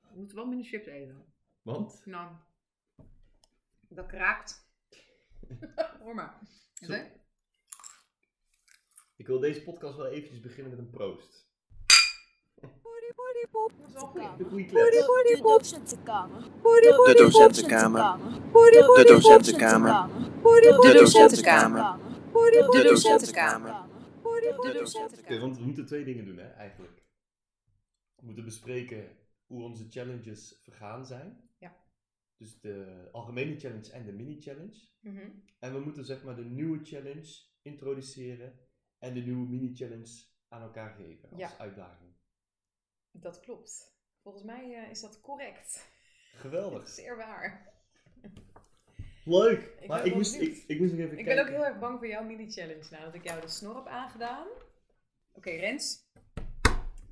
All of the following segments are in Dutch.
Je moet wel minder chips eten. Want? Nou, dat kraakt. Hoor maar. Zo- Oké. Ik wil deze podcast wel eventjes beginnen met een proost. Dat is wel goed. Een goede klep. De docentenkamer. De docentenkamer. De docentenkamer. De docentenkamer. De docentenkamer. De Oké, docentenkamer. want we moeten twee dingen doen, hè, eigenlijk. We moeten bespreken hoe onze challenges vergaan zijn. Ja. Dus de algemene challenge en de mini-challenge. Mhm. En we moeten zeg maar de nieuwe challenge introduceren en de nieuwe mini-challenge aan elkaar geven als Ja. uitdaging. Dat klopt. Volgens mij eh, is dat correct. Dat is Geweldig. zeer waar. Leuk. ben maar wel ik moest, benieuwd. ik, ik moest nog even Ik ben kijken. ook heel erg bang voor jouw mini-challenge nadat ik jou de snor heb aangedaan. Oké, Rens.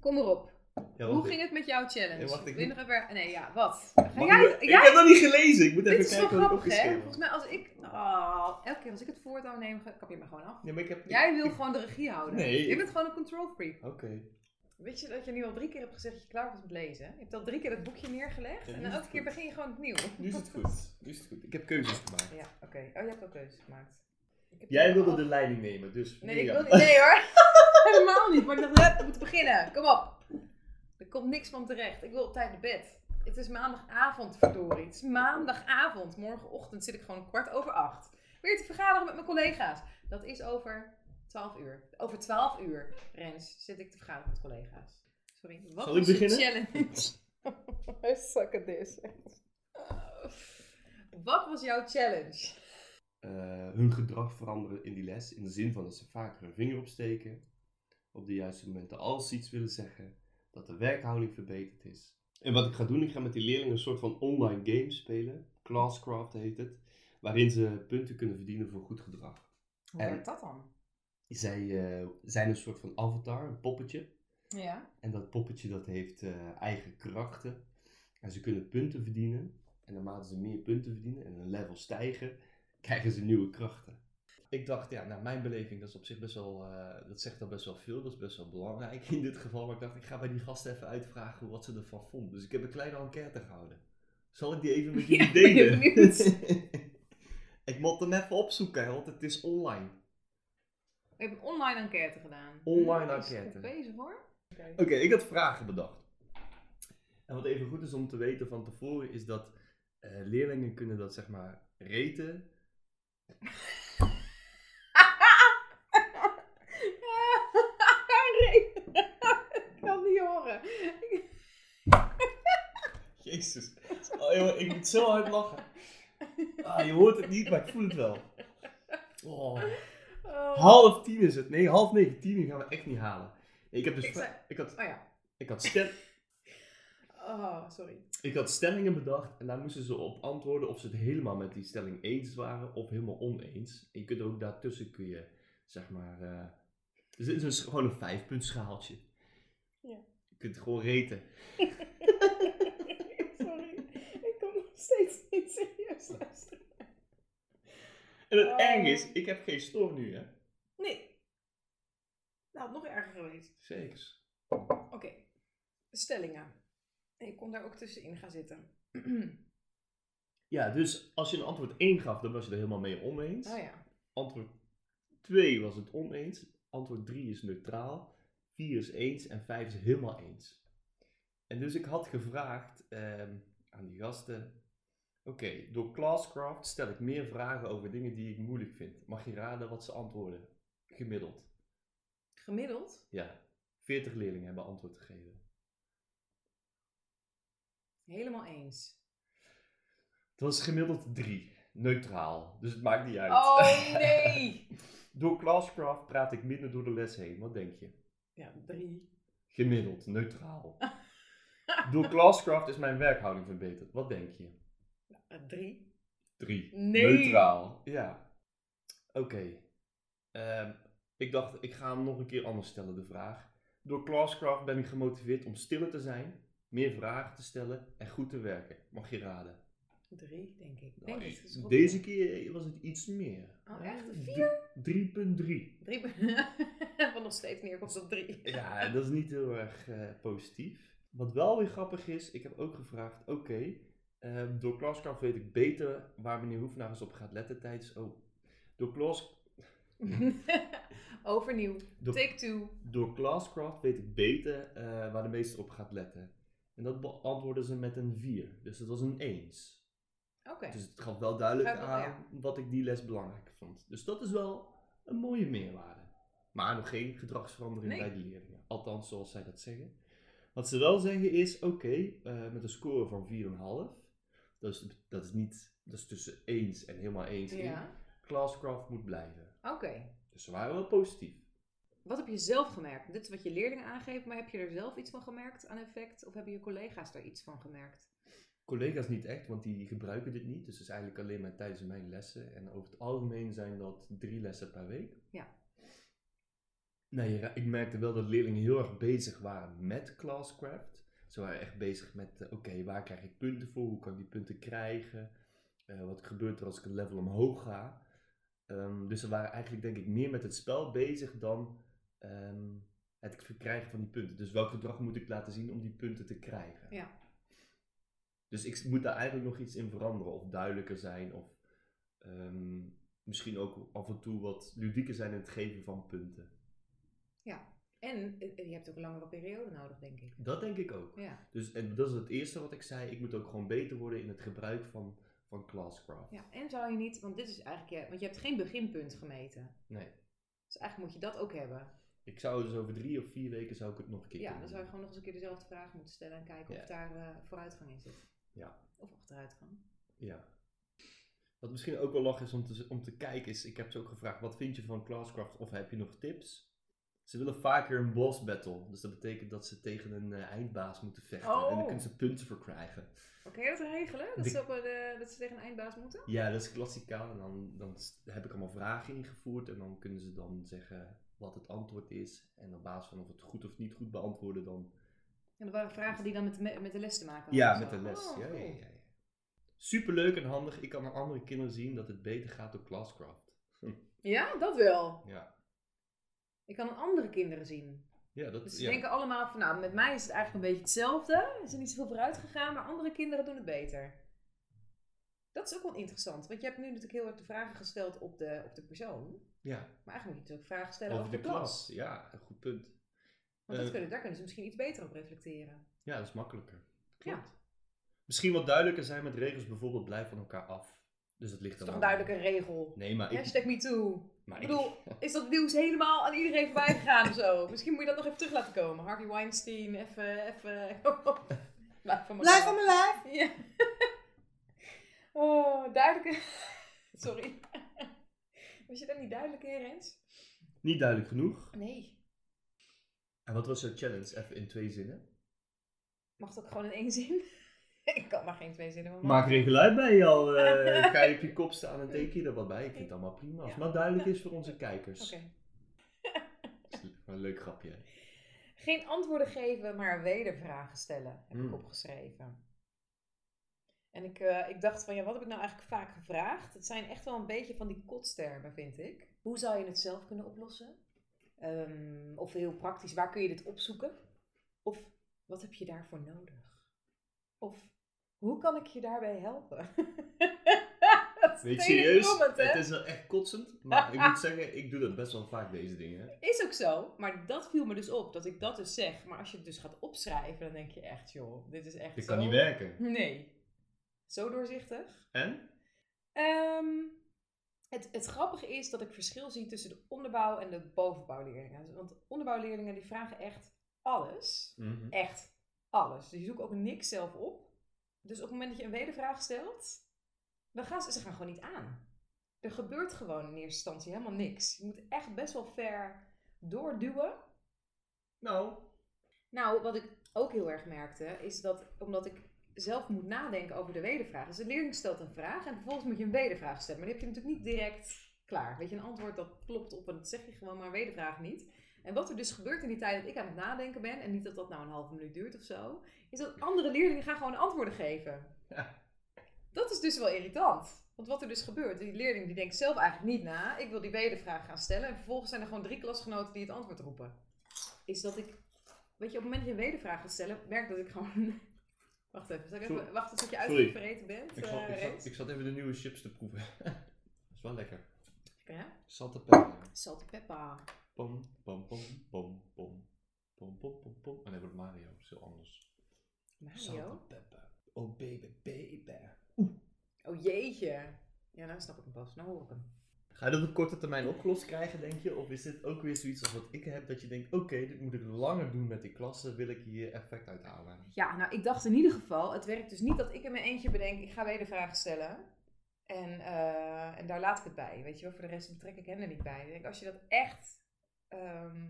Kom erop. Ja, Hoe wacht, ging het met jouw challenge? Ja, wacht, ik Wil je moet- nog even... Nee, ja, wat? mag Ga jij... ik, ik jij... heb dat niet gelezen. Ik moet Dit even is zo kijken wat ik grappig, opgeschreven hè? heb. Volgens mij als ik... Oh, elke keer als ik het voortouw neem, ga- kap je me gewoon af. Nee, maar ik heb... Jij wil ik- gewoon de regie houden. Nee. Je bent gewoon een control freak. Oké. Weet je dat je nu al drie keer hebt gezegd dat je klaar was met lezen? Je hebt al drie keer dat boekje neergelegd Ja, en nu is elke het keer goed. begin je gewoon opnieuw. Nu is het goed. Nu is het goed. Ik heb keuzes gemaakt. Ja, oké. Oh, je hebt ook keuzes gemaakt. Ik heb Jij hier wilde al- de leiding nemen, dus... Nee, ik Mirjam. wil niet. Nee hoor. Helemaal niet. Maar ik dacht, let, we moeten beginnen. Kom op. Er komt niks van terecht. Ik wil op tijd naar bed. Het is maandagavond, verdorie. Het is maandagavond. Morgenochtend zit ik gewoon kwart over acht. Weer te vergaderen met mijn collega's. Dat is over twaalf uur. Over twaalf uur, Rens, zit ik te vergaderen met collega's. Sorry. Wat Zal ik is je beginnen? challenge? Hij zakken dus. Wat was jouw challenge? eh, hun gedrag veranderen in die les. In de zin van dat ze vaker hun vinger opsteken. Op de juiste momenten als ze iets willen zeggen. Dat de werkhouding verbeterd is. En wat ik ga doen, ik ga met die leerlingen een soort van online game spelen. Classcraft heet het. Waarin ze punten kunnen verdienen voor goed gedrag. Hoe En- werkt dat dan? Zij eh, zijn een soort van avatar, een poppetje. Ja. En dat poppetje dat heeft eh, eigen krachten. En ze kunnen punten verdienen. En naarmate ze meer punten verdienen en hun level stijgen, krijgen ze nieuwe krachten. Ik dacht, ja, naar mijn beleving, dat is op zich best wel, eh, dat zegt al best wel veel. Dat is best wel belangrijk in dit geval. Maar ik dacht, ik ga bij die gasten even uitvragen wat ze ervan vonden. Dus ik heb een kleine enquête gehouden. Zal ik die even met jullie Ja, ben je delen? benieuwd? ik moet hem even opzoeken, want het is online. Ik heb een online enquête gedaan. Online Dat is enquête. goed bezig hoor. Oké, ik had vragen bedacht. En wat even goed is om te weten van tevoren, is dat eh, leerlingen kunnen dat zeg maar reten. Nee, ik kan niet horen. Jezus, oh, jongen, ik moet zo hard lachen. Ah, je hoort het niet, maar ik voel het wel. Oh, Oh. half tien is het. Nee, half negen, tien uur gaan we echt niet halen. Nee, ik, heb dus Ik vra- zei- ik, had, Oh ja. ik, had stel- Oh, sorry. ik had stellingen bedacht en daar moesten ze op antwoorden of ze het helemaal met die stelling eens waren of helemaal oneens. En je kunt ook daartussen, kun je zeg maar. eh, dus dit is een s- gewoon een vijfpuntschaaltje. Ja. Je kunt het gewoon reten. sorry. Ik kan nog steeds niet serieus luisteren. En het Oh. eng is, ik heb geen storm nu, hè? Nee. Nou, nog erger geweest. Zeker. Oké. Stellingen. Ik kon daar ook tussenin gaan zitten. Ja, dus als je een antwoord 1 gaf, dan was je er helemaal mee oneens. Oh ja. Antwoord 2 was het oneens. Antwoord 3 is neutraal. 4 is eens en 5 is helemaal eens. En dus ik had gevraagd ehm, aan die gasten: Oké, door Classcraft stel ik meer vragen over dingen die ik moeilijk vind. Mag je raden wat ze antwoorden? Gemiddeld. Gemiddeld? Ja, 40 leerlingen hebben antwoord gegeven. Helemaal eens. Het was gemiddeld 3. Neutraal. Dus het maakt niet uit. Oh nee! Door Classcraft praat ik minder door de les heen. Wat denk je? Ja, drie. Gemiddeld, neutraal. Door Classcraft is mijn werkhouding verbeterd. Wat denk je? Eh, Drie. Drie. Nee. Neutraal. Ja. Oké. Ehm, ik dacht, ik ga hem nog een keer anders stellen, de vraag. Door Classcraft ben ik gemotiveerd om stiller te zijn, meer vragen te stellen en goed te werken. Mag je raden? Drie, denk ik. Ik Nou, denk het is Deze keer was het iets meer. Oh, echt? Eh, drie- 3.3. Drie. Wat nog steeds neerkomt op drie. Ja, dat is niet heel erg eh, positief. Wat wel weer grappig is, ik heb ook gevraagd, oké, eh, door Klaskamp weet ik beter waar meneer Hoefnagels op gaat letten tijdens... Oh, door, Klas, Overnieuw. door, Take two. door Classcraft weet ik beter eh, waar de meester op gaat letten. En dat beantwoorden ze met een 4. Dus dat was een eens. Oké. Dus het gaf wel duidelijk Gaf wel, ja. aan wat ik die les belangrijk vond. Dus dat is wel een mooie meerwaarde. Maar nog geen gedragsverandering Nee. bij de leerlingen. Althans, zoals zij dat zeggen. Wat ze wel zeggen is, oké, eh, met een score van 4,5. Dat is, dat is niet, dat is tussen eens en helemaal eens. in. Ja. Classcraft moet blijven. Oké. Dus ze waren wel positief. Wat heb je zelf gemerkt? Dit is wat je leerlingen aangeven, maar heb je er zelf iets van gemerkt aan effect? Of hebben je collega's daar iets van gemerkt? Collega's niet echt, want die gebruiken dit niet. Dus het is eigenlijk alleen maar tijdens mijn lessen. En over het algemeen zijn dat drie lessen per week. Ja. Nee, ja, ik merkte wel dat leerlingen heel erg bezig waren met classcraft. Ze waren echt bezig met, eh, oké, waar krijg ik punten voor? Hoe kan ik die punten krijgen? Eh, wat gebeurt er als ik een level omhoog ga? Ehm, dus ze waren eigenlijk denk ik meer met het spel bezig dan ehm, het verkrijgen van die punten. Dus welk gedrag moet ik laten zien om die punten te krijgen? Ja. Dus ik moet daar eigenlijk nog iets in veranderen. Of duidelijker zijn. Of ehm, misschien ook af en toe wat ludieker zijn in het geven van punten. En eh, je hebt ook een langere periode nodig, denk ik. Dat denk ik ook. Ja. Dus, en dat is het eerste wat ik zei. Ik moet ook gewoon beter worden in het gebruik van, van classcraft. ja. En zou je niet, want dit is eigenlijk, je, want je hebt geen beginpunt gemeten. Nee. Dus eigenlijk moet je dat ook hebben. Ik zou dus over drie of vier weken zou ik het nog een keer ja, dan kunnen zou je doen. gewoon nog eens een keer dezelfde vraag moeten stellen en kijken Ja. of daar eh, vooruitgang in zit. Ja. Of achteruitgang. Ja. Wat misschien ook wel lach is om te, om te kijken is, ik heb ze ook gevraagd, wat vind je van Classcraft of heb je nog tips? Ze willen vaker een boss battle, dus dat betekent dat ze tegen een eh, eindbaas moeten vechten en Oh. dan kunnen ze punten voor krijgen. Oké, dat regelen? Dat, De- ze op, eh, dat ze tegen een eindbaas moeten? Ja, dat is klassikaal en dan, dan s- heb ik allemaal vragen ingevoerd en dan kunnen ze dan zeggen wat het antwoord is en op basis van of het goed of niet goed beantwoorden dan. En dat waren vragen die dan met, de me- met de les te maken hadden. Ja, of met zo. de les. Oh, ja, ja, cool. ja, ja. Superleuk en handig, ik kan aan andere kinderen zien dat het beter gaat door Classcraft. Ja, dat wel. Ja. Ik kan aan andere kinderen zien. Ja, dat Dus ze ja. denken allemaal van, nou, met mij is het eigenlijk een beetje hetzelfde. Er is er niet zoveel vooruit gegaan, maar andere kinderen doen het beter. Dat is ook wel interessant, want je hebt nu natuurlijk heel erg de vragen gesteld op de, op de persoon. ja. Maar eigenlijk moet je natuurlijk vragen stellen over de klas. Ja, een goed punt. Want dat Eh, kunnen, daar kunnen ze misschien iets beter op reflecteren. Ja, dat is makkelijker. Ja. Klopt. Misschien wat duidelijker zijn met regels, bijvoorbeeld blijf van elkaar af. Dus dat ligt Dat is toch er wel aan. duidelijk een regel. Nee, maar Nou, ik, Hashtag MeToo. maar Ik bedoel, is dat nieuws helemaal aan iedereen voorbij gegaan of zo? Misschien moet je dat nog even terug laten komen. Harvey Weinstein, even, even... Blijf van me Blijf van mijn lijf. Ja. Oh, duidelijke... Sorry. Was je daar niet duidelijk in, Rens? niet duidelijk genoeg. Nee. En wat was jouw challenge? Even in twee zinnen. Mag het ook gewoon in één zin? Ik kan maar geen twee zinnen van Maak er een geluid bij, Jan. Eh, ga je op je kop staan en teken je er wat bij. Ik vind het allemaal prima. Als het maar duidelijk is voor onze kijkers. Oké. Dat is wel een leuk grapje. hè? Geen antwoorden geven, maar wedervragen stellen, heb ik Hmm. opgeschreven. En ik, eh, ik dacht van, ja, wat heb ik nou eigenlijk vaak gevraagd? Het zijn echt wel een beetje van die kotstermen, vind ik. Hoe zou je het zelf kunnen oplossen? Ehm, of heel praktisch, waar kun je dit opzoeken? Of wat heb je daarvoor nodig? Of hoe kan ik je daarbij helpen? Dat is Weet je, serieus? tenenkrommend, hè? Het is wel echt kotsend. Maar ik moet zeggen, ik doe dat best wel vaak, deze dingen. Is ook zo, maar dat viel me dus op, dat ik dat dus zeg. Maar als je het dus gaat opschrijven, dan denk je echt, joh, dit is echt Dit zo... kan niet werken. Nee. Zo doorzichtig. En? Ehm, het, het grappige is dat ik verschil zie tussen de onderbouw en de bovenbouwleerlingen. Want onderbouwleerlingen die vragen echt alles. Echt alles. Dus je zoekt ook niks zelf op. Dus op het moment dat je een wedervraag stelt, dan gaan ze, ze gaan gewoon niet aan. Er gebeurt gewoon in eerste instantie helemaal niks. Je moet echt best wel ver doorduwen Nou, nou, wat ik ook heel erg merkte, is dat omdat ik zelf moet nadenken over de wedervraag. Dus de leerling stelt een vraag en vervolgens moet je een wedervraag stellen. Maar die heb je natuurlijk niet direct klaar. Weet je, een antwoord dat klopt op en dat zeg je gewoon, maar een wedervraag niet. En wat er dus gebeurt in die tijd dat ik aan het nadenken ben, en niet dat dat nou een halve minuut duurt of zo, is dat andere leerlingen gaan gewoon antwoorden geven. Ja. Dat is dus wel irritant. Want wat er dus gebeurt, die leerling die denkt zelf eigenlijk niet na, ik wil die wedervraag gaan stellen. En vervolgens zijn er gewoon drie klasgenoten die het antwoord roepen. Is dat ik Weet je, op het moment dat je een wedervraag gaat stellen, merk dat ik gewoon... Wacht even, zal ik even Sorry. wachten tot je Sorry. uitgevreten bent? Ik eh, zat, ik, zat, Rees? ik zat even de nieuwe chips te proeven. dat is wel lekker. Lekker, hè? Salte pepper. Salty pepper. Pom, pom, pom, pom, pom. Pom, pom, pom, pom. Oh nee, wordt Mario. Dat is heel anders. Salte Mario? pepper. Oh baby, baby. Oh jeetje. Ja, nou snap ik hem pas. Nou hoor ik hem. Ga je dat op korte termijn opgelost krijgen, denk je? Of is dit ook weer zoiets als wat ik heb, dat je denkt, oké, dit moet ik langer doen met die klassen, wil ik hier effect uithalen? Ja, nou ik dacht in ieder geval, het werkt dus niet dat ik in mijn eentje bedenk, ik ga wedervragen stellen. En, eh, en daar laat ik het bij. Weet je wel, voor de rest betrek ik hen er niet bij. Ik denk, als je dat echt, ehm,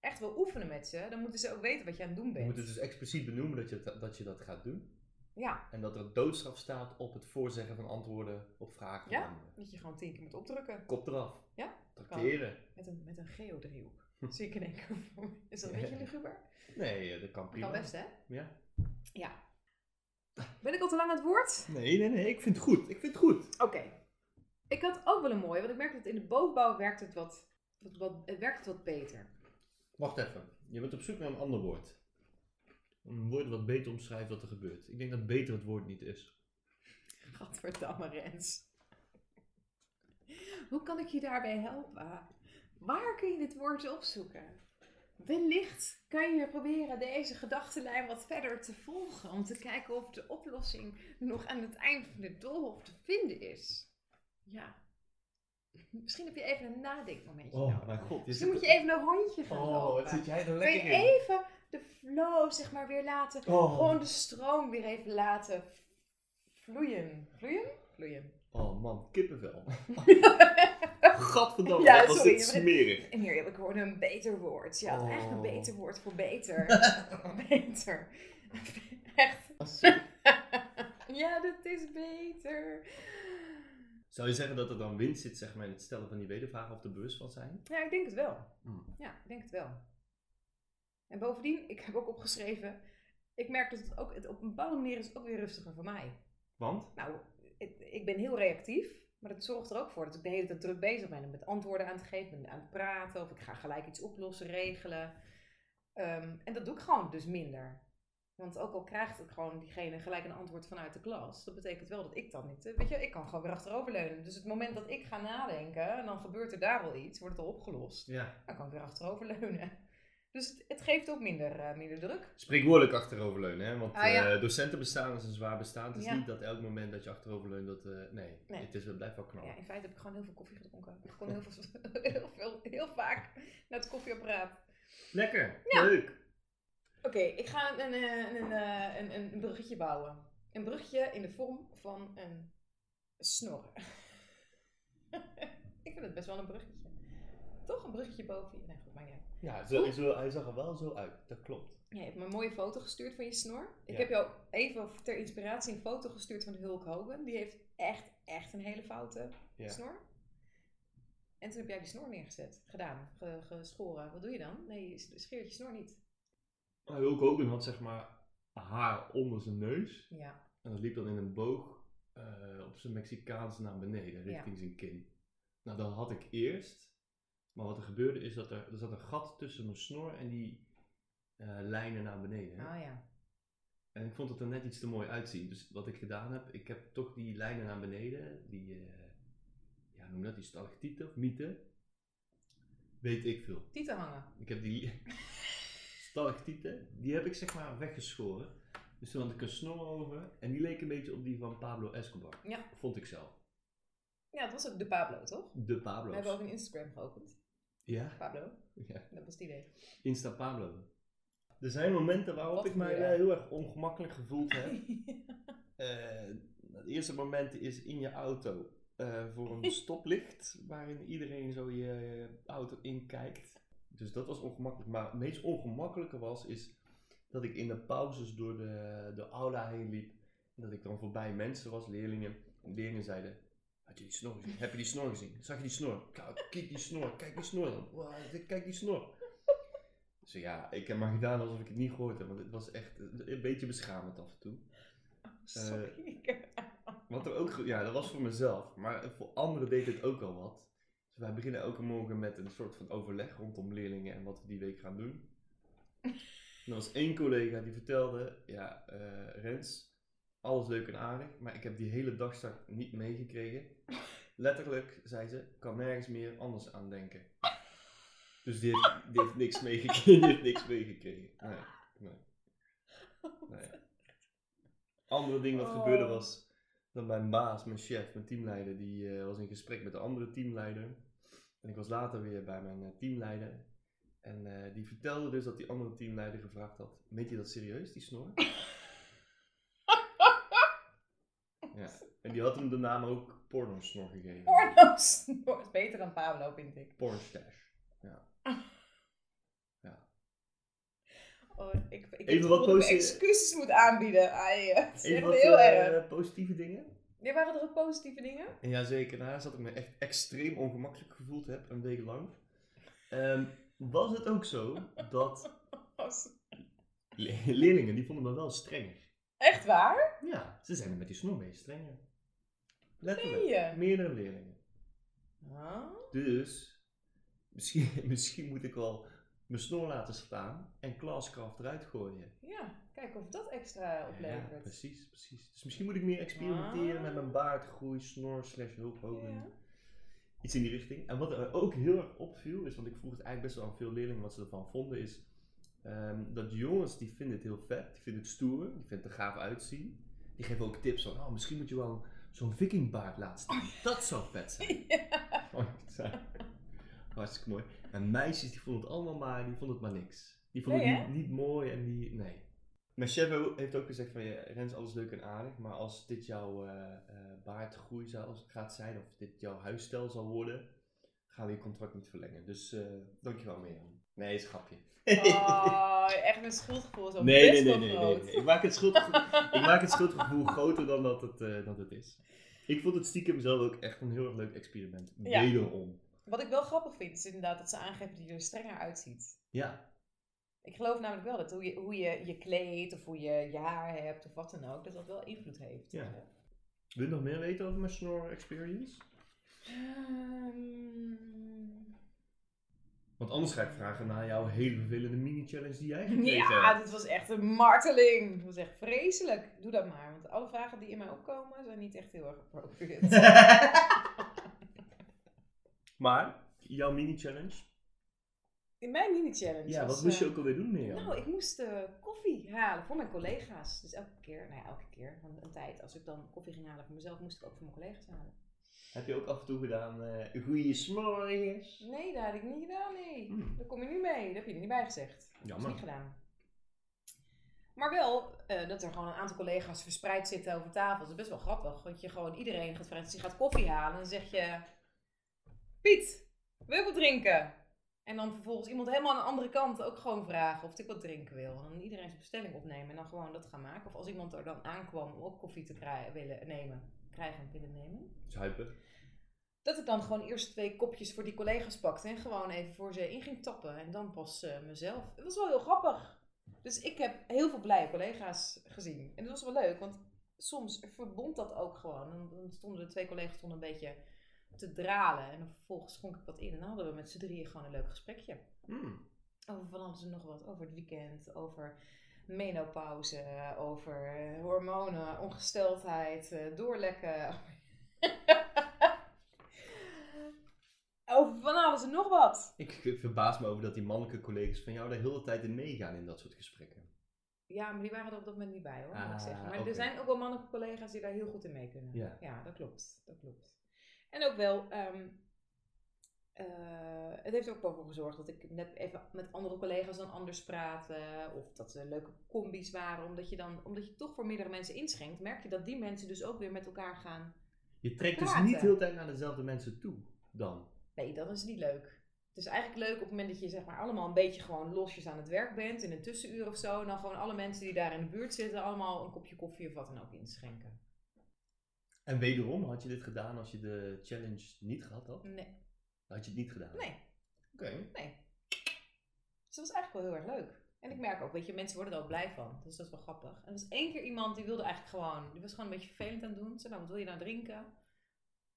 echt wil oefenen met ze, dan moeten ze ook weten wat je aan het doen Je moet bent. het dus expliciet benoemen dat je, het- dat je dat gaat doen. Ja, En dat er doodstraf staat op het voorzeggen van antwoorden op vragen Ja? van anderen. dat je gewoon tien keer moet opdrukken. Kop eraf. Ja, Tracteren. Met een, met een geodriehoek. Zie ik in één keer voor me. Is dat een Hm. Ja. beetje luguber? Nee, eh, dat kan Dat prima. kan best, hè? Ja. Ja. Ben ik al te lang aan het woord? Nee, nee, nee, ik vind het goed. Ik vind het goed. Oké. Ik had ook wel een mooie, want ik merk dat in de bovenbouw werkt het wat, wat, wat, het werkt het wat beter. Wacht even. Je bent op zoek naar een ander woord. Een woord wat beter omschrijft wat er gebeurt. Ik denk dat beter het woord niet is. Gadverdamme Rens. Hoe kan ik je daarbij helpen? Waar kun je dit woord opzoeken? Wellicht kan je proberen deze gedachtenlijn wat verder te volgen om te kijken of de oplossing nog aan het eind van de doolhof te vinden is. Ja. Misschien heb je even een nadenkmomentje nodig. Oh, mijn god. Je Misschien moet zit- je even een rondje gaan Oh, lopen. wat zit jij er Kun je lekker in. even de flow zeg maar weer laten. Oh. Gewoon de stroom weer even laten vloeien. Vloeien? Vloeien. oh man, kippenvel. Gadverdamme, Ja, wat was sorry, dit je bent- smerig. En hier heb ik gewoon een beter woord. Ja, Oh. echt een beter woord voor beter. beter. Echt. ja, dat is beter. Zou je zeggen dat er dan winst zit zeg maar, in het stellen van die wedervragen of er bewust van zijn? Ja, ik denk het wel. Hmm. Ja, ik denk het wel. En bovendien, ik heb ook opgeschreven. Ik merk dat het ook het op een bepaalde manier is het ook weer rustiger voor mij. Want? Nou, ik, ik ben heel reactief, maar dat zorgt er ook voor dat ik de hele tijd druk bezig ben. Met antwoorden aan het geven, ben aan het praten, of ik ga gelijk iets oplossen, regelen. Ehm, en dat doe ik gewoon dus minder. Want ook al krijgt het gewoon diegene gelijk een antwoord vanuit de klas, dat betekent wel dat ik dan niet. eh, Weet je, ik kan gewoon weer achteroverleunen. Dus het moment dat ik ga nadenken, en dan gebeurt er daar al iets, wordt het al opgelost. Ja. Dan kan ik weer achteroverleunen. Dus het, het geeft ook minder, eh, minder druk. Spreekwoordelijk achteroverleunen, hè? Want Ah, ja. eh, docenten bestaan is een zwaar bestaan. Het is Ja. niet dat elk moment dat je achteroverleunt, dat... eh, nee, Nee. Het, is, het blijft wel knal. Ja, in feite heb ik gewoon heel veel koffie gedronken. Ik kon heel, veel, heel, veel, heel vaak naar het koffieapparaat. Lekker, leuk. Oké, ik ga een, eh, een, eh, een, een, een bruggetje bouwen. Een bruggetje in de vorm van een snor. ik vind het best wel een bruggetje. Toch een bruggetje boven je. Nee, goed, maar ja. Ja, zo, zo, hij zag er wel zo uit. Dat klopt. Je hebt me een mooie foto gestuurd van je snor. Ik Ja. heb jou even ter inspiratie een foto gestuurd van Hulk Hogan. Die heeft echt, echt een hele foute Ja. snor. En toen heb jij die snor neergezet, gedaan, ge- geschoren. Wat doe je dan? Nee, je scheert je snor niet. Maar Hulk Hogan had zeg maar haar onder zijn neus. Ja, En dat liep dan in een boog eh, op zijn Mexicaans naar beneden, richting zijn kin. Nou, dat had ik eerst. Maar wat er gebeurde is dat er, er zat een gat tussen mijn snor en die eh, lijnen naar beneden. hè. ah ja. En ik vond het er net iets te mooi uitzien. Dus wat ik gedaan heb, ik heb toch die lijnen naar beneden, die, eh, ja, noem dat, die stalactieten of mieten. Weet ik veel. Tieten hangen. Ik heb die stalactieten, die heb ik zeg maar weggeschoren. Dus toen had ik een snor over en die leek een beetje op die van Pablo Escobar. Ja. Vond ik zelf. Ja, dat was ook de Pablo, toch? De We Pablo's. hebben ook een Instagram geopend. Ja? Pablo, ja. dat was die idee. Insta Pablo. Er zijn momenten waarop Wat ik mij gebeurde? eh, heel erg ongemakkelijk gevoeld heb. Eh, het eerste moment is in je auto eh, voor een stoplicht waarin iedereen zo je auto inkijkt. Dus dat was ongemakkelijk. Maar het meest ongemakkelijke was is dat ik in de pauzes door de, de aula heen liep. En dat ik dan voorbij mensen was, leerlingen. En leerlingen zeiden, had je die snor gezien? Heb je die snor gezien? Zag je die snor? Kijk kijk die snor, kijk die snor dan. Wow, kijk die snor. Dus ja, ik heb maar gedaan alsof ik het niet gehoord heb. Want het was echt een beetje beschamend af en toe. Eh, Sorry. Wat er ook, ge- ja, dat was voor mezelf, maar voor anderen deed het ook al wat. Dus wij beginnen elke morgen met een soort van overleg rondom leerlingen en wat we die week gaan doen. En er was één collega die vertelde, ja, eh, Rens, alles leuk en aardig, maar ik heb die hele dagstart niet meegekregen. Letterlijk, zei ze, kan nergens meer anders aan denken. Dus die heeft, die heeft niks meegekregen, die heeft niks meegekregen. Nee, nee, nee. Andere ding wat Oh. gebeurde was, dat mijn baas, mijn chef, mijn teamleider, die eh, was in gesprek met de andere teamleider. En ik was later weer bij mijn eh, teamleider. En eh, die vertelde dus dat die andere teamleider gevraagd had: Meet je dat serieus, die snor? ja. En die had hem de naam ook pornosnor gegeven. Porno snor. Is beter dan Pablo, vind ik. Pornstash. Oh, ik, ik Even wat ik posi- excuses moet aanbieden. Ai, eh, het is Even echt wat heel eh, erg. positieve dingen. Ja, waren er ook positieve dingen? En jazeker, naast dat ik me echt extreem ongemakkelijk gevoeld heb, een week lang, ehm, was het ook zo dat Was- le- leerlingen, die vonden me wel strenger. Echt waar? Ja, ze zijn er met die snor mee strenger. Letterlijk. Nee. eh. Meerdere leerlingen. Huh? Dus misschien, misschien moet ik wel mijn snor laten staan en Classcraft eruit gooien. Ja, kijk of dat extra Ja, oplevert. precies, precies. Dus misschien moet ik meer experimenteren Ah. met mijn baardgroei, snor, slash hulphoogte. Ja. Iets in die richting. En wat er ook heel erg opviel, is, want ik vroeg het eigenlijk best wel aan veel leerlingen wat ze ervan vonden, is ehm, dat jongens die vinden het heel vet, die vinden het stoer, die vinden het er gaaf uitzien. Die geven ook tips van, oh, misschien moet je wel zo'n vikingbaard laten Oh, staan. Dat zou vet zijn. Oh, het zijn- Hartstikke mooi. En meisjes die vonden het allemaal maar, die vonden het maar niks. Die vonden Nee, het niet, niet mooi en die, nee. Mijn chef he- heeft ook gezegd van, ja, Rens, alles leuk en aardig, maar als dit jouw eh eh, baardgroei zou, als het gaat zijn, of dit jouw huisstijl zal worden, gaan we je contract niet verlengen. Dus eh dankjewel, Mirjam. Nee, is een grapje. Oh, echt mijn schuldgevoel is al nee, nee, best nee, wel nee, nee, groot. nee. Ik maak het schuldgevoel, ik maak het schuldgevoel groter dan dat het, eh, dat het is. Ik vond het stiekem zelf ook echt een heel erg leuk experiment. Ja. Wederom. Wat ik wel grappig vind, is inderdaad dat ze aangeven dat je er strenger uitziet. Ja, Ik geloof namelijk wel dat hoe je hoe je, je kleedt of hoe je je haar hebt of wat dan ook, dat dat wel invloed heeft. Ja. Wil je nog meer weten over mijn snor experience? Ehm, Want anders ga ik vragen naar jouw hele vervelende mini-challenge die jij gekregen ja, hebt. dit was echt een marteling. Dat was echt vreselijk. Doe dat maar, want alle vragen die in mij opkomen zijn niet echt heel erg appropriate. maar, jouw mini-challenge? In mijn mini-challenge. Ja, was, wat moest je eh, ook alweer doen, Mirjam? Nou, ik moest eh, koffie halen voor mijn collega's. Dus elke keer, nou ja, elke keer, een, een tijd. Als ik dan koffie ging halen voor mezelf, moest ik ook voor mijn collega's halen. Heb je ook af en toe gedaan eh goeie smorgens? Nee, dat had ik niet gedaan, nee. Hmm. Daar kom je nu mee. Daar heb je er niet bij gezegd. Dat is Jammer. niet gedaan. Maar wel eh, dat er gewoon een aantal collega's verspreid zitten over tafel. Dat is best wel grappig. Want je gewoon iedereen gaat vragen. Dus je gaat koffie halen en dan zeg je... Piet, wil je wat drinken? En dan vervolgens iemand helemaal aan de andere kant ook gewoon vragen of ik wat drinken wil. En dan iedereen zijn bestelling opnemen en dan gewoon dat gaan maken. Of als iemand er dan aankwam om ook koffie te krijgen, willen nemen. Krijgen, willen nemen Zuipen. dat ik dan gewoon eerst twee kopjes voor die collega's pakte en gewoon even voor ze in ging tappen. En dan pas eh, mezelf. Het was wel heel grappig. Dus ik heb heel veel blije collega's gezien. En dat was wel leuk, want soms verbond dat ook gewoon. En dan stonden de twee collega's stonden een beetje te dralen. En dan vervolgens schonk ik wat in. En dan hadden we met z'n drieën gewoon een leuk gesprekje. Hmm. Over Oh, van alles en nog wat. Over het weekend, over menopauze, over eh, hormonen, ongesteldheid, eh, doorlekken. over Oh, van alles en nog wat. Ik verbaas me over dat die mannelijke collega's van jou de hele tijd in meegaan in dat soort gesprekken. Ja, maar die waren er op dat moment niet bij hoor, moet ik Ah, zeggen. Maar oké. er zijn ook wel mannelijke collega's die daar heel goed in mee kunnen. Ja. dat klopt. Dat klopt. En ook wel, ehm, eh, het heeft er ook wel voor gezorgd dat ik net even met andere collega's dan anders praatte. Of dat er leuke combis waren. Omdat je dan, omdat je toch voor meerdere mensen inschenkt, merk je dat die mensen dus ook weer met elkaar gaan. Je trekt dus Praten. niet heel de tijd naar dezelfde mensen toe dan. Nee, dat is niet leuk. Het is eigenlijk leuk op het moment dat je zeg maar allemaal een beetje gewoon losjes aan het werk bent. In een tussenuur of zo. En dan gewoon alle mensen die daar in de buurt zitten allemaal een kopje koffie of wat dan ook inschenken. En wederom, had je dit gedaan als je de challenge niet gehad had? Nee, Had je het niet gedaan? nee. Oké. Dus dat was eigenlijk wel heel erg leuk. En ik merk ook, weet je, mensen worden er ook blij van. Dus dat is wel grappig. En er was één keer iemand die wilde eigenlijk gewoon, die was gewoon een beetje vervelend aan het doen. Ze zei, nou, wat wil je nou drinken?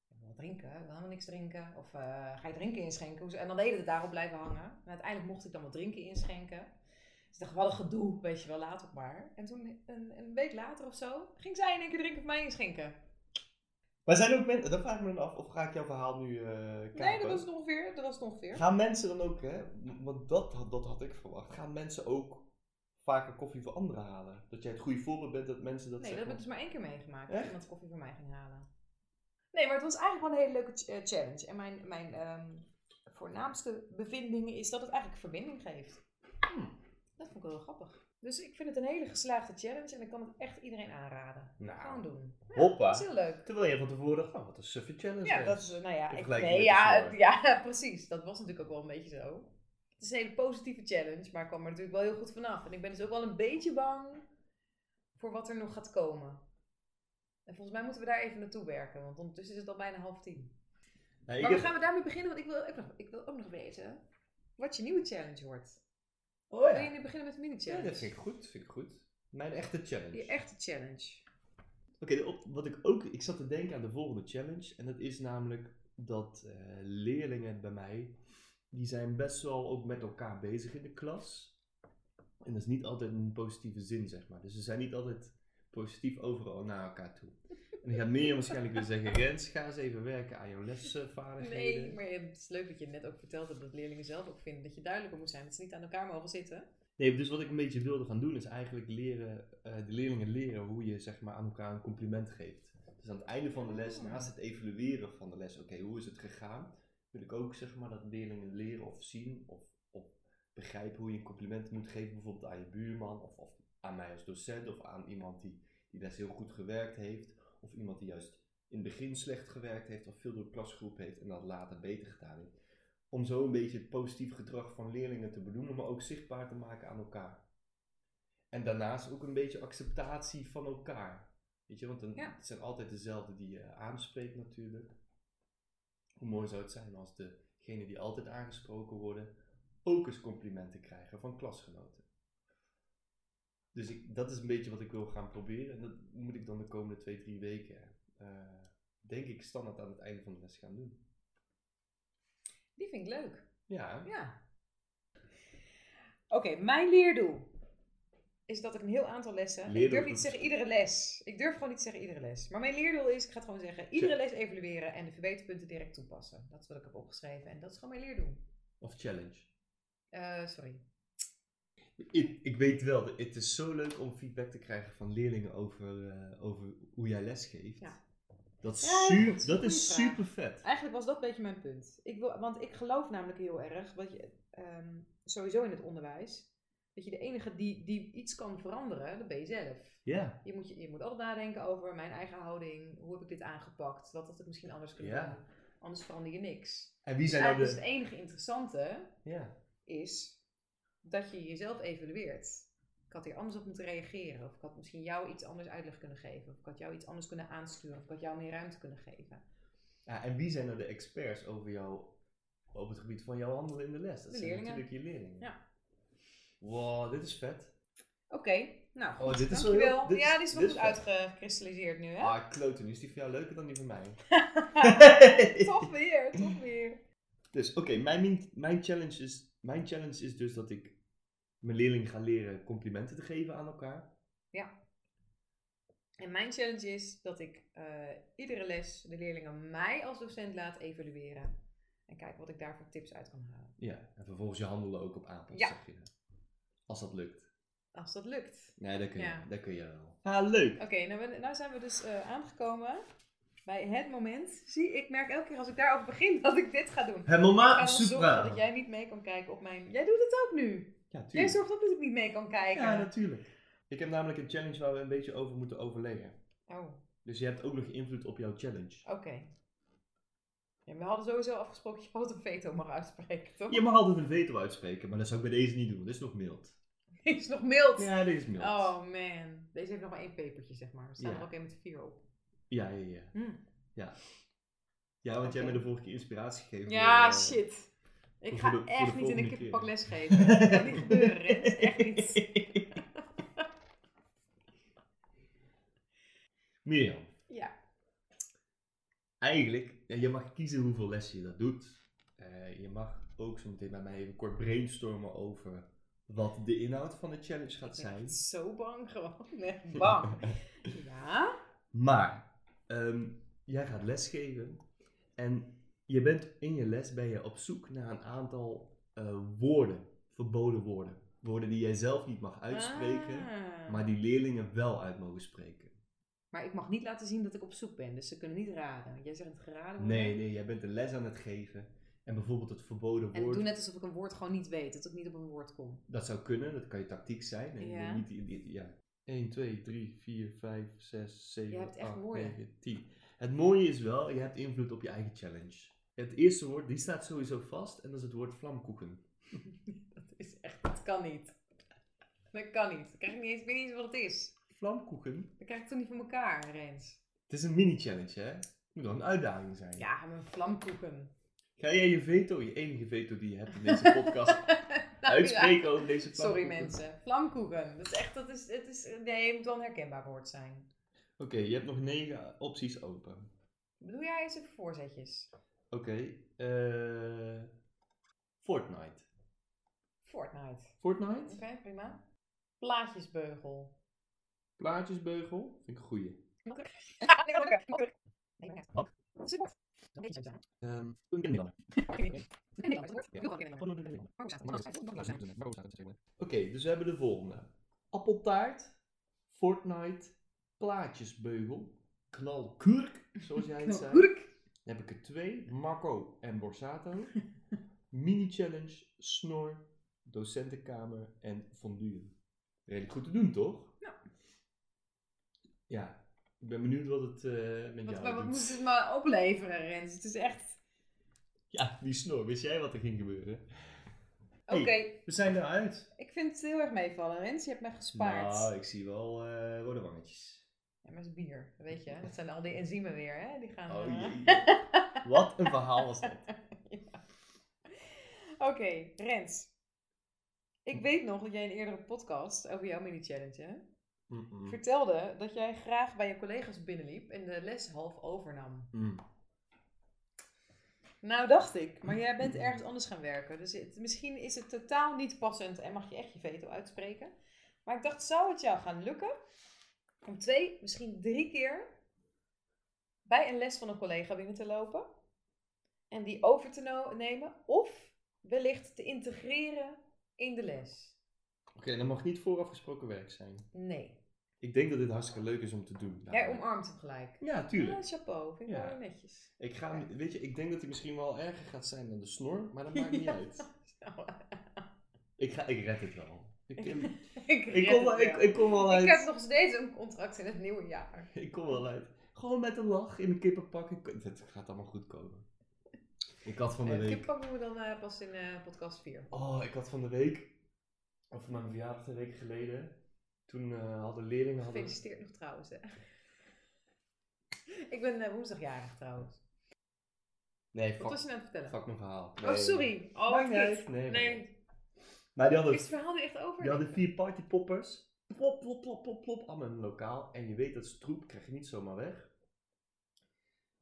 Ik wil wat drinken, ik wil helemaal niks drinken. Of eh, ga je drinken inschenken? Hoezo- En dan deden we daarop blijven hangen. En uiteindelijk mocht ik dan wat drinken inschenken. ik dacht, wat een gedoe, weet je wel, laat het maar. En toen, een, een week later of zo, ging zij in één keer drinken of mij inschenken. Maar zijn er ook mensen, dat vraag ik me dan af, of ga ik jouw verhaal nu eh kapen? Nee, dat was het ongeveer. Dat was het ongeveer. Gaan mensen dan ook, hè, want dat, had- dat had ik verwacht, gaan mensen ook vaker koffie voor anderen halen? Dat jij het goede voorbeeld bent dat mensen dat nee, dat zeggen. heb ik dus maar één keer meegemaakt. Echt? Dat iemand koffie voor mij ging halen. Nee, maar het was eigenlijk wel een hele leuke ch- eh, challenge. En mijn, mijn ehm, voornaamste bevinding is dat het eigenlijk verbinding geeft. Hmm. Dat vond ik wel grappig. Dus ik vind het een hele geslaagde challenge en ik kan het echt iedereen aanraden. Gewoon Nou, doen. Ja, hoppa. Dat is heel leuk. terwijl je van tevoren dacht, nou, wat een suffe challenge. Ja, hè. dat is, eh, nou ja, In ik, vergelijking nee, met de ja, vorige. ja, precies. Dat was natuurlijk ook wel een beetje zo. Het is een hele positieve challenge, maar ik kwam er natuurlijk wel heel goed vanaf. En ik ben dus ook wel een beetje bang voor wat er nog gaat komen. En volgens mij moeten we daar even naartoe werken, want ondertussen is het al bijna half tien. Nou, ik maar we heb- gaan we daarmee beginnen, want ik wil, ook nog, ik wil ook nog weten wat je nieuwe challenge wordt. Oh Wil je ja. nu beginnen met de ja, mini-challenge? dat vind ik goed, vind ik goed. Mijn echte challenge. Je echte challenge. Oké, de op- wat ik ook. Ik zat te denken aan de volgende challenge. En dat is namelijk dat eh, leerlingen bij mij. die zijn best wel ook met elkaar bezig in de klas. En dat is niet altijd in een positieve zin, zeg maar. Dus ze zijn niet altijd positief overal naar elkaar toe. En dan gaat meer waarschijnlijk weer zeggen: Rens, ga eens even werken aan jouw lesvaardigheden. Nee, maar het is leuk dat je net ook verteld hebt dat leerlingen zelf ook vinden dat je duidelijker moet zijn, dat ze niet aan elkaar mogen zitten. Nee, dus wat ik een beetje wilde gaan doen is eigenlijk leren, eh, de leerlingen leren hoe je zeg maar, aan elkaar een compliment geeft. Dus aan het einde van de les, naast het evalueren van de les, oké, hoe is het gegaan, wil ik ook zeg maar, dat leerlingen leren of zien of, of begrijpen hoe je een compliment moet geven, bijvoorbeeld aan je buurman of, of aan mij als docent of aan iemand die die les heel goed gewerkt heeft of iemand die juist in het begin slecht gewerkt heeft of veel door de klasgroep heeft en dat later beter gedaan heeft om zo een beetje het positief gedrag van leerlingen te benoemen, maar ook zichtbaar te maken aan elkaar. En daarnaast ook een beetje acceptatie van elkaar. Weet je, want dan, Ja. het zijn altijd dezelfde die je aanspreekt natuurlijk. Hoe mooi zou het zijn als degenen die altijd aangesproken worden, ook eens complimenten krijgen van klasgenoten. Dus ik, dat is een beetje wat ik wil gaan proberen. En dat moet ik dan de komende twee, drie weken, eh, denk ik, standaard aan het einde van de les gaan doen. Die vind ik leuk. Ja, Ja. Oké, mijn leerdoel is dat ik een heel aantal lessen. ik Leerdoel durf is niet te een zeggen iedere les. Ik durf gewoon niet te zeggen iedere les. Maar mijn leerdoel is, ik ga het gewoon zeggen, iedere les evalueren en de verbeterpunten direct toepassen. Dat is wat ik heb opgeschreven en dat is gewoon mijn leerdoel. of challenge. Eh, sorry. Ik, ik weet wel, het is zo leuk om feedback te krijgen van leerlingen over, eh, over hoe jij lesgeeft. Ja. Dat is, Ja, su- dat is een dat goeie is vraag. super vet. Eigenlijk was dat een beetje mijn punt. Ik wil, want ik geloof namelijk heel erg, dat je, ehm, sowieso in het onderwijs, dat je de enige die, die iets kan veranderen, dat ben je zelf. Ja, Je moet, je, je moet altijd nadenken over mijn eigen houding. Hoe heb ik dit aangepakt? Wat had ik misschien anders kunnen Ja. doen? Anders verander je niks. en wie Dus zijn nou eigenlijk is de... het enige interessante Ja. is dat je jezelf evalueert. Ik had hier anders op moeten reageren. Of ik had misschien jou iets anders uitleg kunnen geven. Of ik had jou iets anders kunnen aansturen. Of ik had jou meer ruimte kunnen geven. Ja, en wie zijn nou de experts over jou, op het gebied van jouw handelen in de les? Dat De zijn leerlingen. natuurlijk je leerlingen. Ja. Wow, dit is vet. Oké, nou goed. Oh, dit is wel dankjewel. heel- dit is- ja, dit is wel dit is goed vet. uitgekristalliseerd nu, hè? Ah, kloten, nu is die van jou leuker dan die van mij. toch weer, toch weer. Dus oké, mijn, min- mijn, challenge is, mijn challenge is dus dat ik mijn leerlingen ga leren complimenten te geven aan elkaar. En mijn challenge is dat ik eh, iedere les de leerlingen mij als docent laat evalueren. En kijken wat ik daar voor tips uit kan halen. Ja, en vervolgens je handelen ook op aanpast, Ja. zeg je. Als dat lukt. Als dat lukt. Nee, dat kun je, Ja. dat kun je wel. Ah, leuk! Oké, nou, ben- nou zijn we dus eh, aangekomen bij het moment. Zie, ik merk elke keer als ik daarover begin dat ik dit ga doen. Het Ik ga moment dan zorgen dat Ah, super! jij niet mee kan kijken op mijn... Jij doet het ook nu. Ja, Jij tuurlijk. zorgt ook dat ik niet mee kan kijken. Ja, natuurlijk. Ik heb namelijk een challenge waar we een beetje over moeten overleggen. Oh, Dus je hebt ook nog invloed op jouw challenge. oké. Ja, we hadden sowieso afgesproken dat je altijd een veto mag uitspreken, toch? Je mag altijd een veto uitspreken, maar dat zou ik bij deze niet doen. Dit is nog mild. Is nog mild. Ja, dit is mild. Oh man, deze heeft nog maar één pepertje, zeg maar. Er staan Ja. er ook één met vier op. Ja, ja, ja. Hmm. Ja, want jij Oké. hebt me de vorige keer inspiratie gegeven. Ja, Eh, shit. Ik voor ga de- voor de echt niet in een volgende kippenpak keer. les geven. Dat kan niet gebeuren, Rens. Echt niet. Mirjam, Ja. eigenlijk, ja, je mag kiezen hoeveel lessen je dat doet. Eh, je mag ook zo meteen bij mij even kort brainstormen over wat de inhoud van de challenge gaat Ik ben zijn. echt zo bang gewoon. Ik ben echt bang. ja? Maar ehm, jij gaat lesgeven en je bent in je les ben je op zoek naar een aantal eh, woorden, verboden woorden. Woorden die jij zelf niet mag uitspreken, Ah. maar die leerlingen wel uit mogen spreken. Maar ik mag niet laten zien dat ik op zoek ben, dus ze kunnen niet raden. Jij zegt het geraden wordt. Nee, nee, jij bent een les aan het geven en bijvoorbeeld het verboden En ik woord, doe net alsof ik een woord gewoon niet weet, dat ik niet op een woord kom. dat zou kunnen, dat kan je tactiek zijn. En Ja. niet, die- die- ja. 1, 2, 3, 4, 5, 6, 7, Je hebt echt 8, woorden. 9, 10. Het mooie is wel, je hebt invloed op je eigen challenge. Het eerste woord, die staat sowieso vast en dat is het woord vlamkoeken. Dat is echt, dat kan niet. Dat kan niet. Dan krijg ik, niet eens, ik weet niet eens wat het is. Vlamkoeken? Dat krijg ik toch niet voor elkaar, Rens. Het is een mini-challenge, hè? Het moet wel een uitdaging zijn. Ja, mijn vlamkoeken. Ga jij je veto, je enige veto die je hebt in deze podcast, Nou, ja. uitspreken over deze vlamkoeken? Sorry mensen, vlamkoeken. Dat is echt, dat is, het is, nee, het moet wel een herkenbaar woord zijn. Oké, je hebt nog negen opties open. Bedoel jij eens even voorzetjes? Oké, eh Fortnite. Fortnite. Oké, Fortnite? prima. Plaatjesbeugel. Plaatjesbeugel? Vind ik een goeie. Ehm, Oké, dus we hebben de volgende. Appeltaart, Fortnite, plaatjesbeugel, knalkurk, zoals jij het zei. Dan heb ik er twee. Marco en Borsato. Mini-challenge, snor, docentenkamer en fondue. Redelijk goed te doen, toch? Ja. Ja. Ik ben benieuwd wat het eh, met Wat, jou wat doet. moet het me opleveren, Rens? Het is echt... Ja, die snor. Wist jij wat er ging gebeuren? Oké, We zijn eruit. ik vind het heel erg meevallen, Rens. Je hebt me gespaard. Nou, ik zie wel eh rode wangetjes. Ja, maar het is bier, dat weet je. hè. Dat zijn al die enzymen weer, hè? Die gaan... Oh eh, jee. Wat een verhaal was dat. Oké, Rens. Ik weet nog dat jij in een eerdere podcast over jouw mini-challenge hè, Mm-mm. vertelde dat jij graag bij je collega's binnenliep en de les half overnam. Mm. Nou, dacht ik, maar jij Mm. bent ergens anders gaan werken. Dus het- misschien is het totaal niet passend en mag je echt je veto uitspreken. Maar ik dacht, zou het jou gaan lukken om twee, misschien drie keer bij een les van een collega binnen te lopen en die over te no- nemen of wellicht te integreren in de les? Oké, dat mag niet voorafgesproken werk zijn. Nee. Ik denk dat dit hartstikke leuk is om te doen. Jij omarmt hem gelijk. Ja, Ja, tuurlijk. chapeau, vind ik Ja. wel heel netjes. Ik ga, hem- weet je, ik denk dat hij misschien wel erger gaat zijn dan de snor, maar dat maakt niet uit. Nou, Ik, ga, ik red het wel. Ik, ik, ik, ik, red kom, wel- het ik, wel. ik kom wel Ik heb uit. nog steeds een contract in het nieuwe jaar. Ik kom wel uit. Gewoon met een lach in een kippenpak. Ik, het gaat allemaal goed komen. Ik had van de Eh, Het week. kippak doen we dan eh, pas in eh, podcast 4. Oh, ik had van de week. Of van mijn verjaardag twee weken geleden. Toen eh, hadden leerlingen. Hadden, Gefeliciteerd nog trouwens. Hè. Ik ben eh, woensdagjarig trouwens. nee, Wat was fuck, je nou aan het vertellen? fuck mijn verhaal. Oh, sorry. Oh, Maakt wat niet uit. kut. Nee, Nee, nee. Maar die hadden is het verhaal nu echt over? Je hadden vier partypoppers. Plop, plop, plop, plop, plop. Allemaal in een lokaal. En je weet dat is troep, krijg je niet zomaar weg.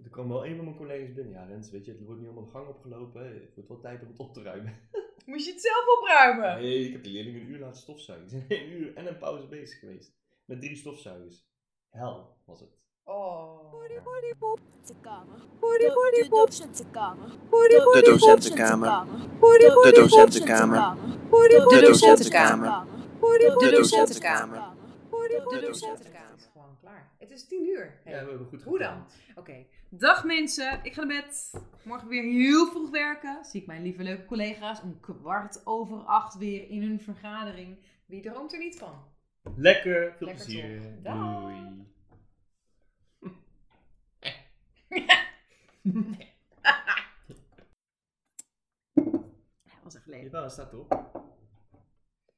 Er kwam wel een van mijn collega's binnen. Ja, Rens, weet je, het wordt niet allemaal de gang opgelopen. hè. Het wordt wel tijd om het op te ruimen. Moest je het zelf opruimen? Nee, ik heb de leerlingen een uur laten stofzuigen. Ze zijn een uur en een pauze bezig geweest. Met drie stofzuigers. Hel was het. Oh. De docentenkamer. De docentenkamer. De De docentenkamer. docentenkamer. De docentenkamer. docentenkamer. De De docentenkamer. docentenkamer. De Het is docentenkamer. gewoon klaar. Het is tien uur. Hey. Ja, we hebben goed Hoe dan? Oké. Dag mensen, ik ga naar bed. Morgen weer heel vroeg werken. Zie ik mijn lieve leuke collega's om kwart over acht weer in hun vergadering. Wie droomt er niet van? Lekker, veel Lekker plezier. toch. Dag. Doei. Dat was echt leuk. Jawel, dat staat erop.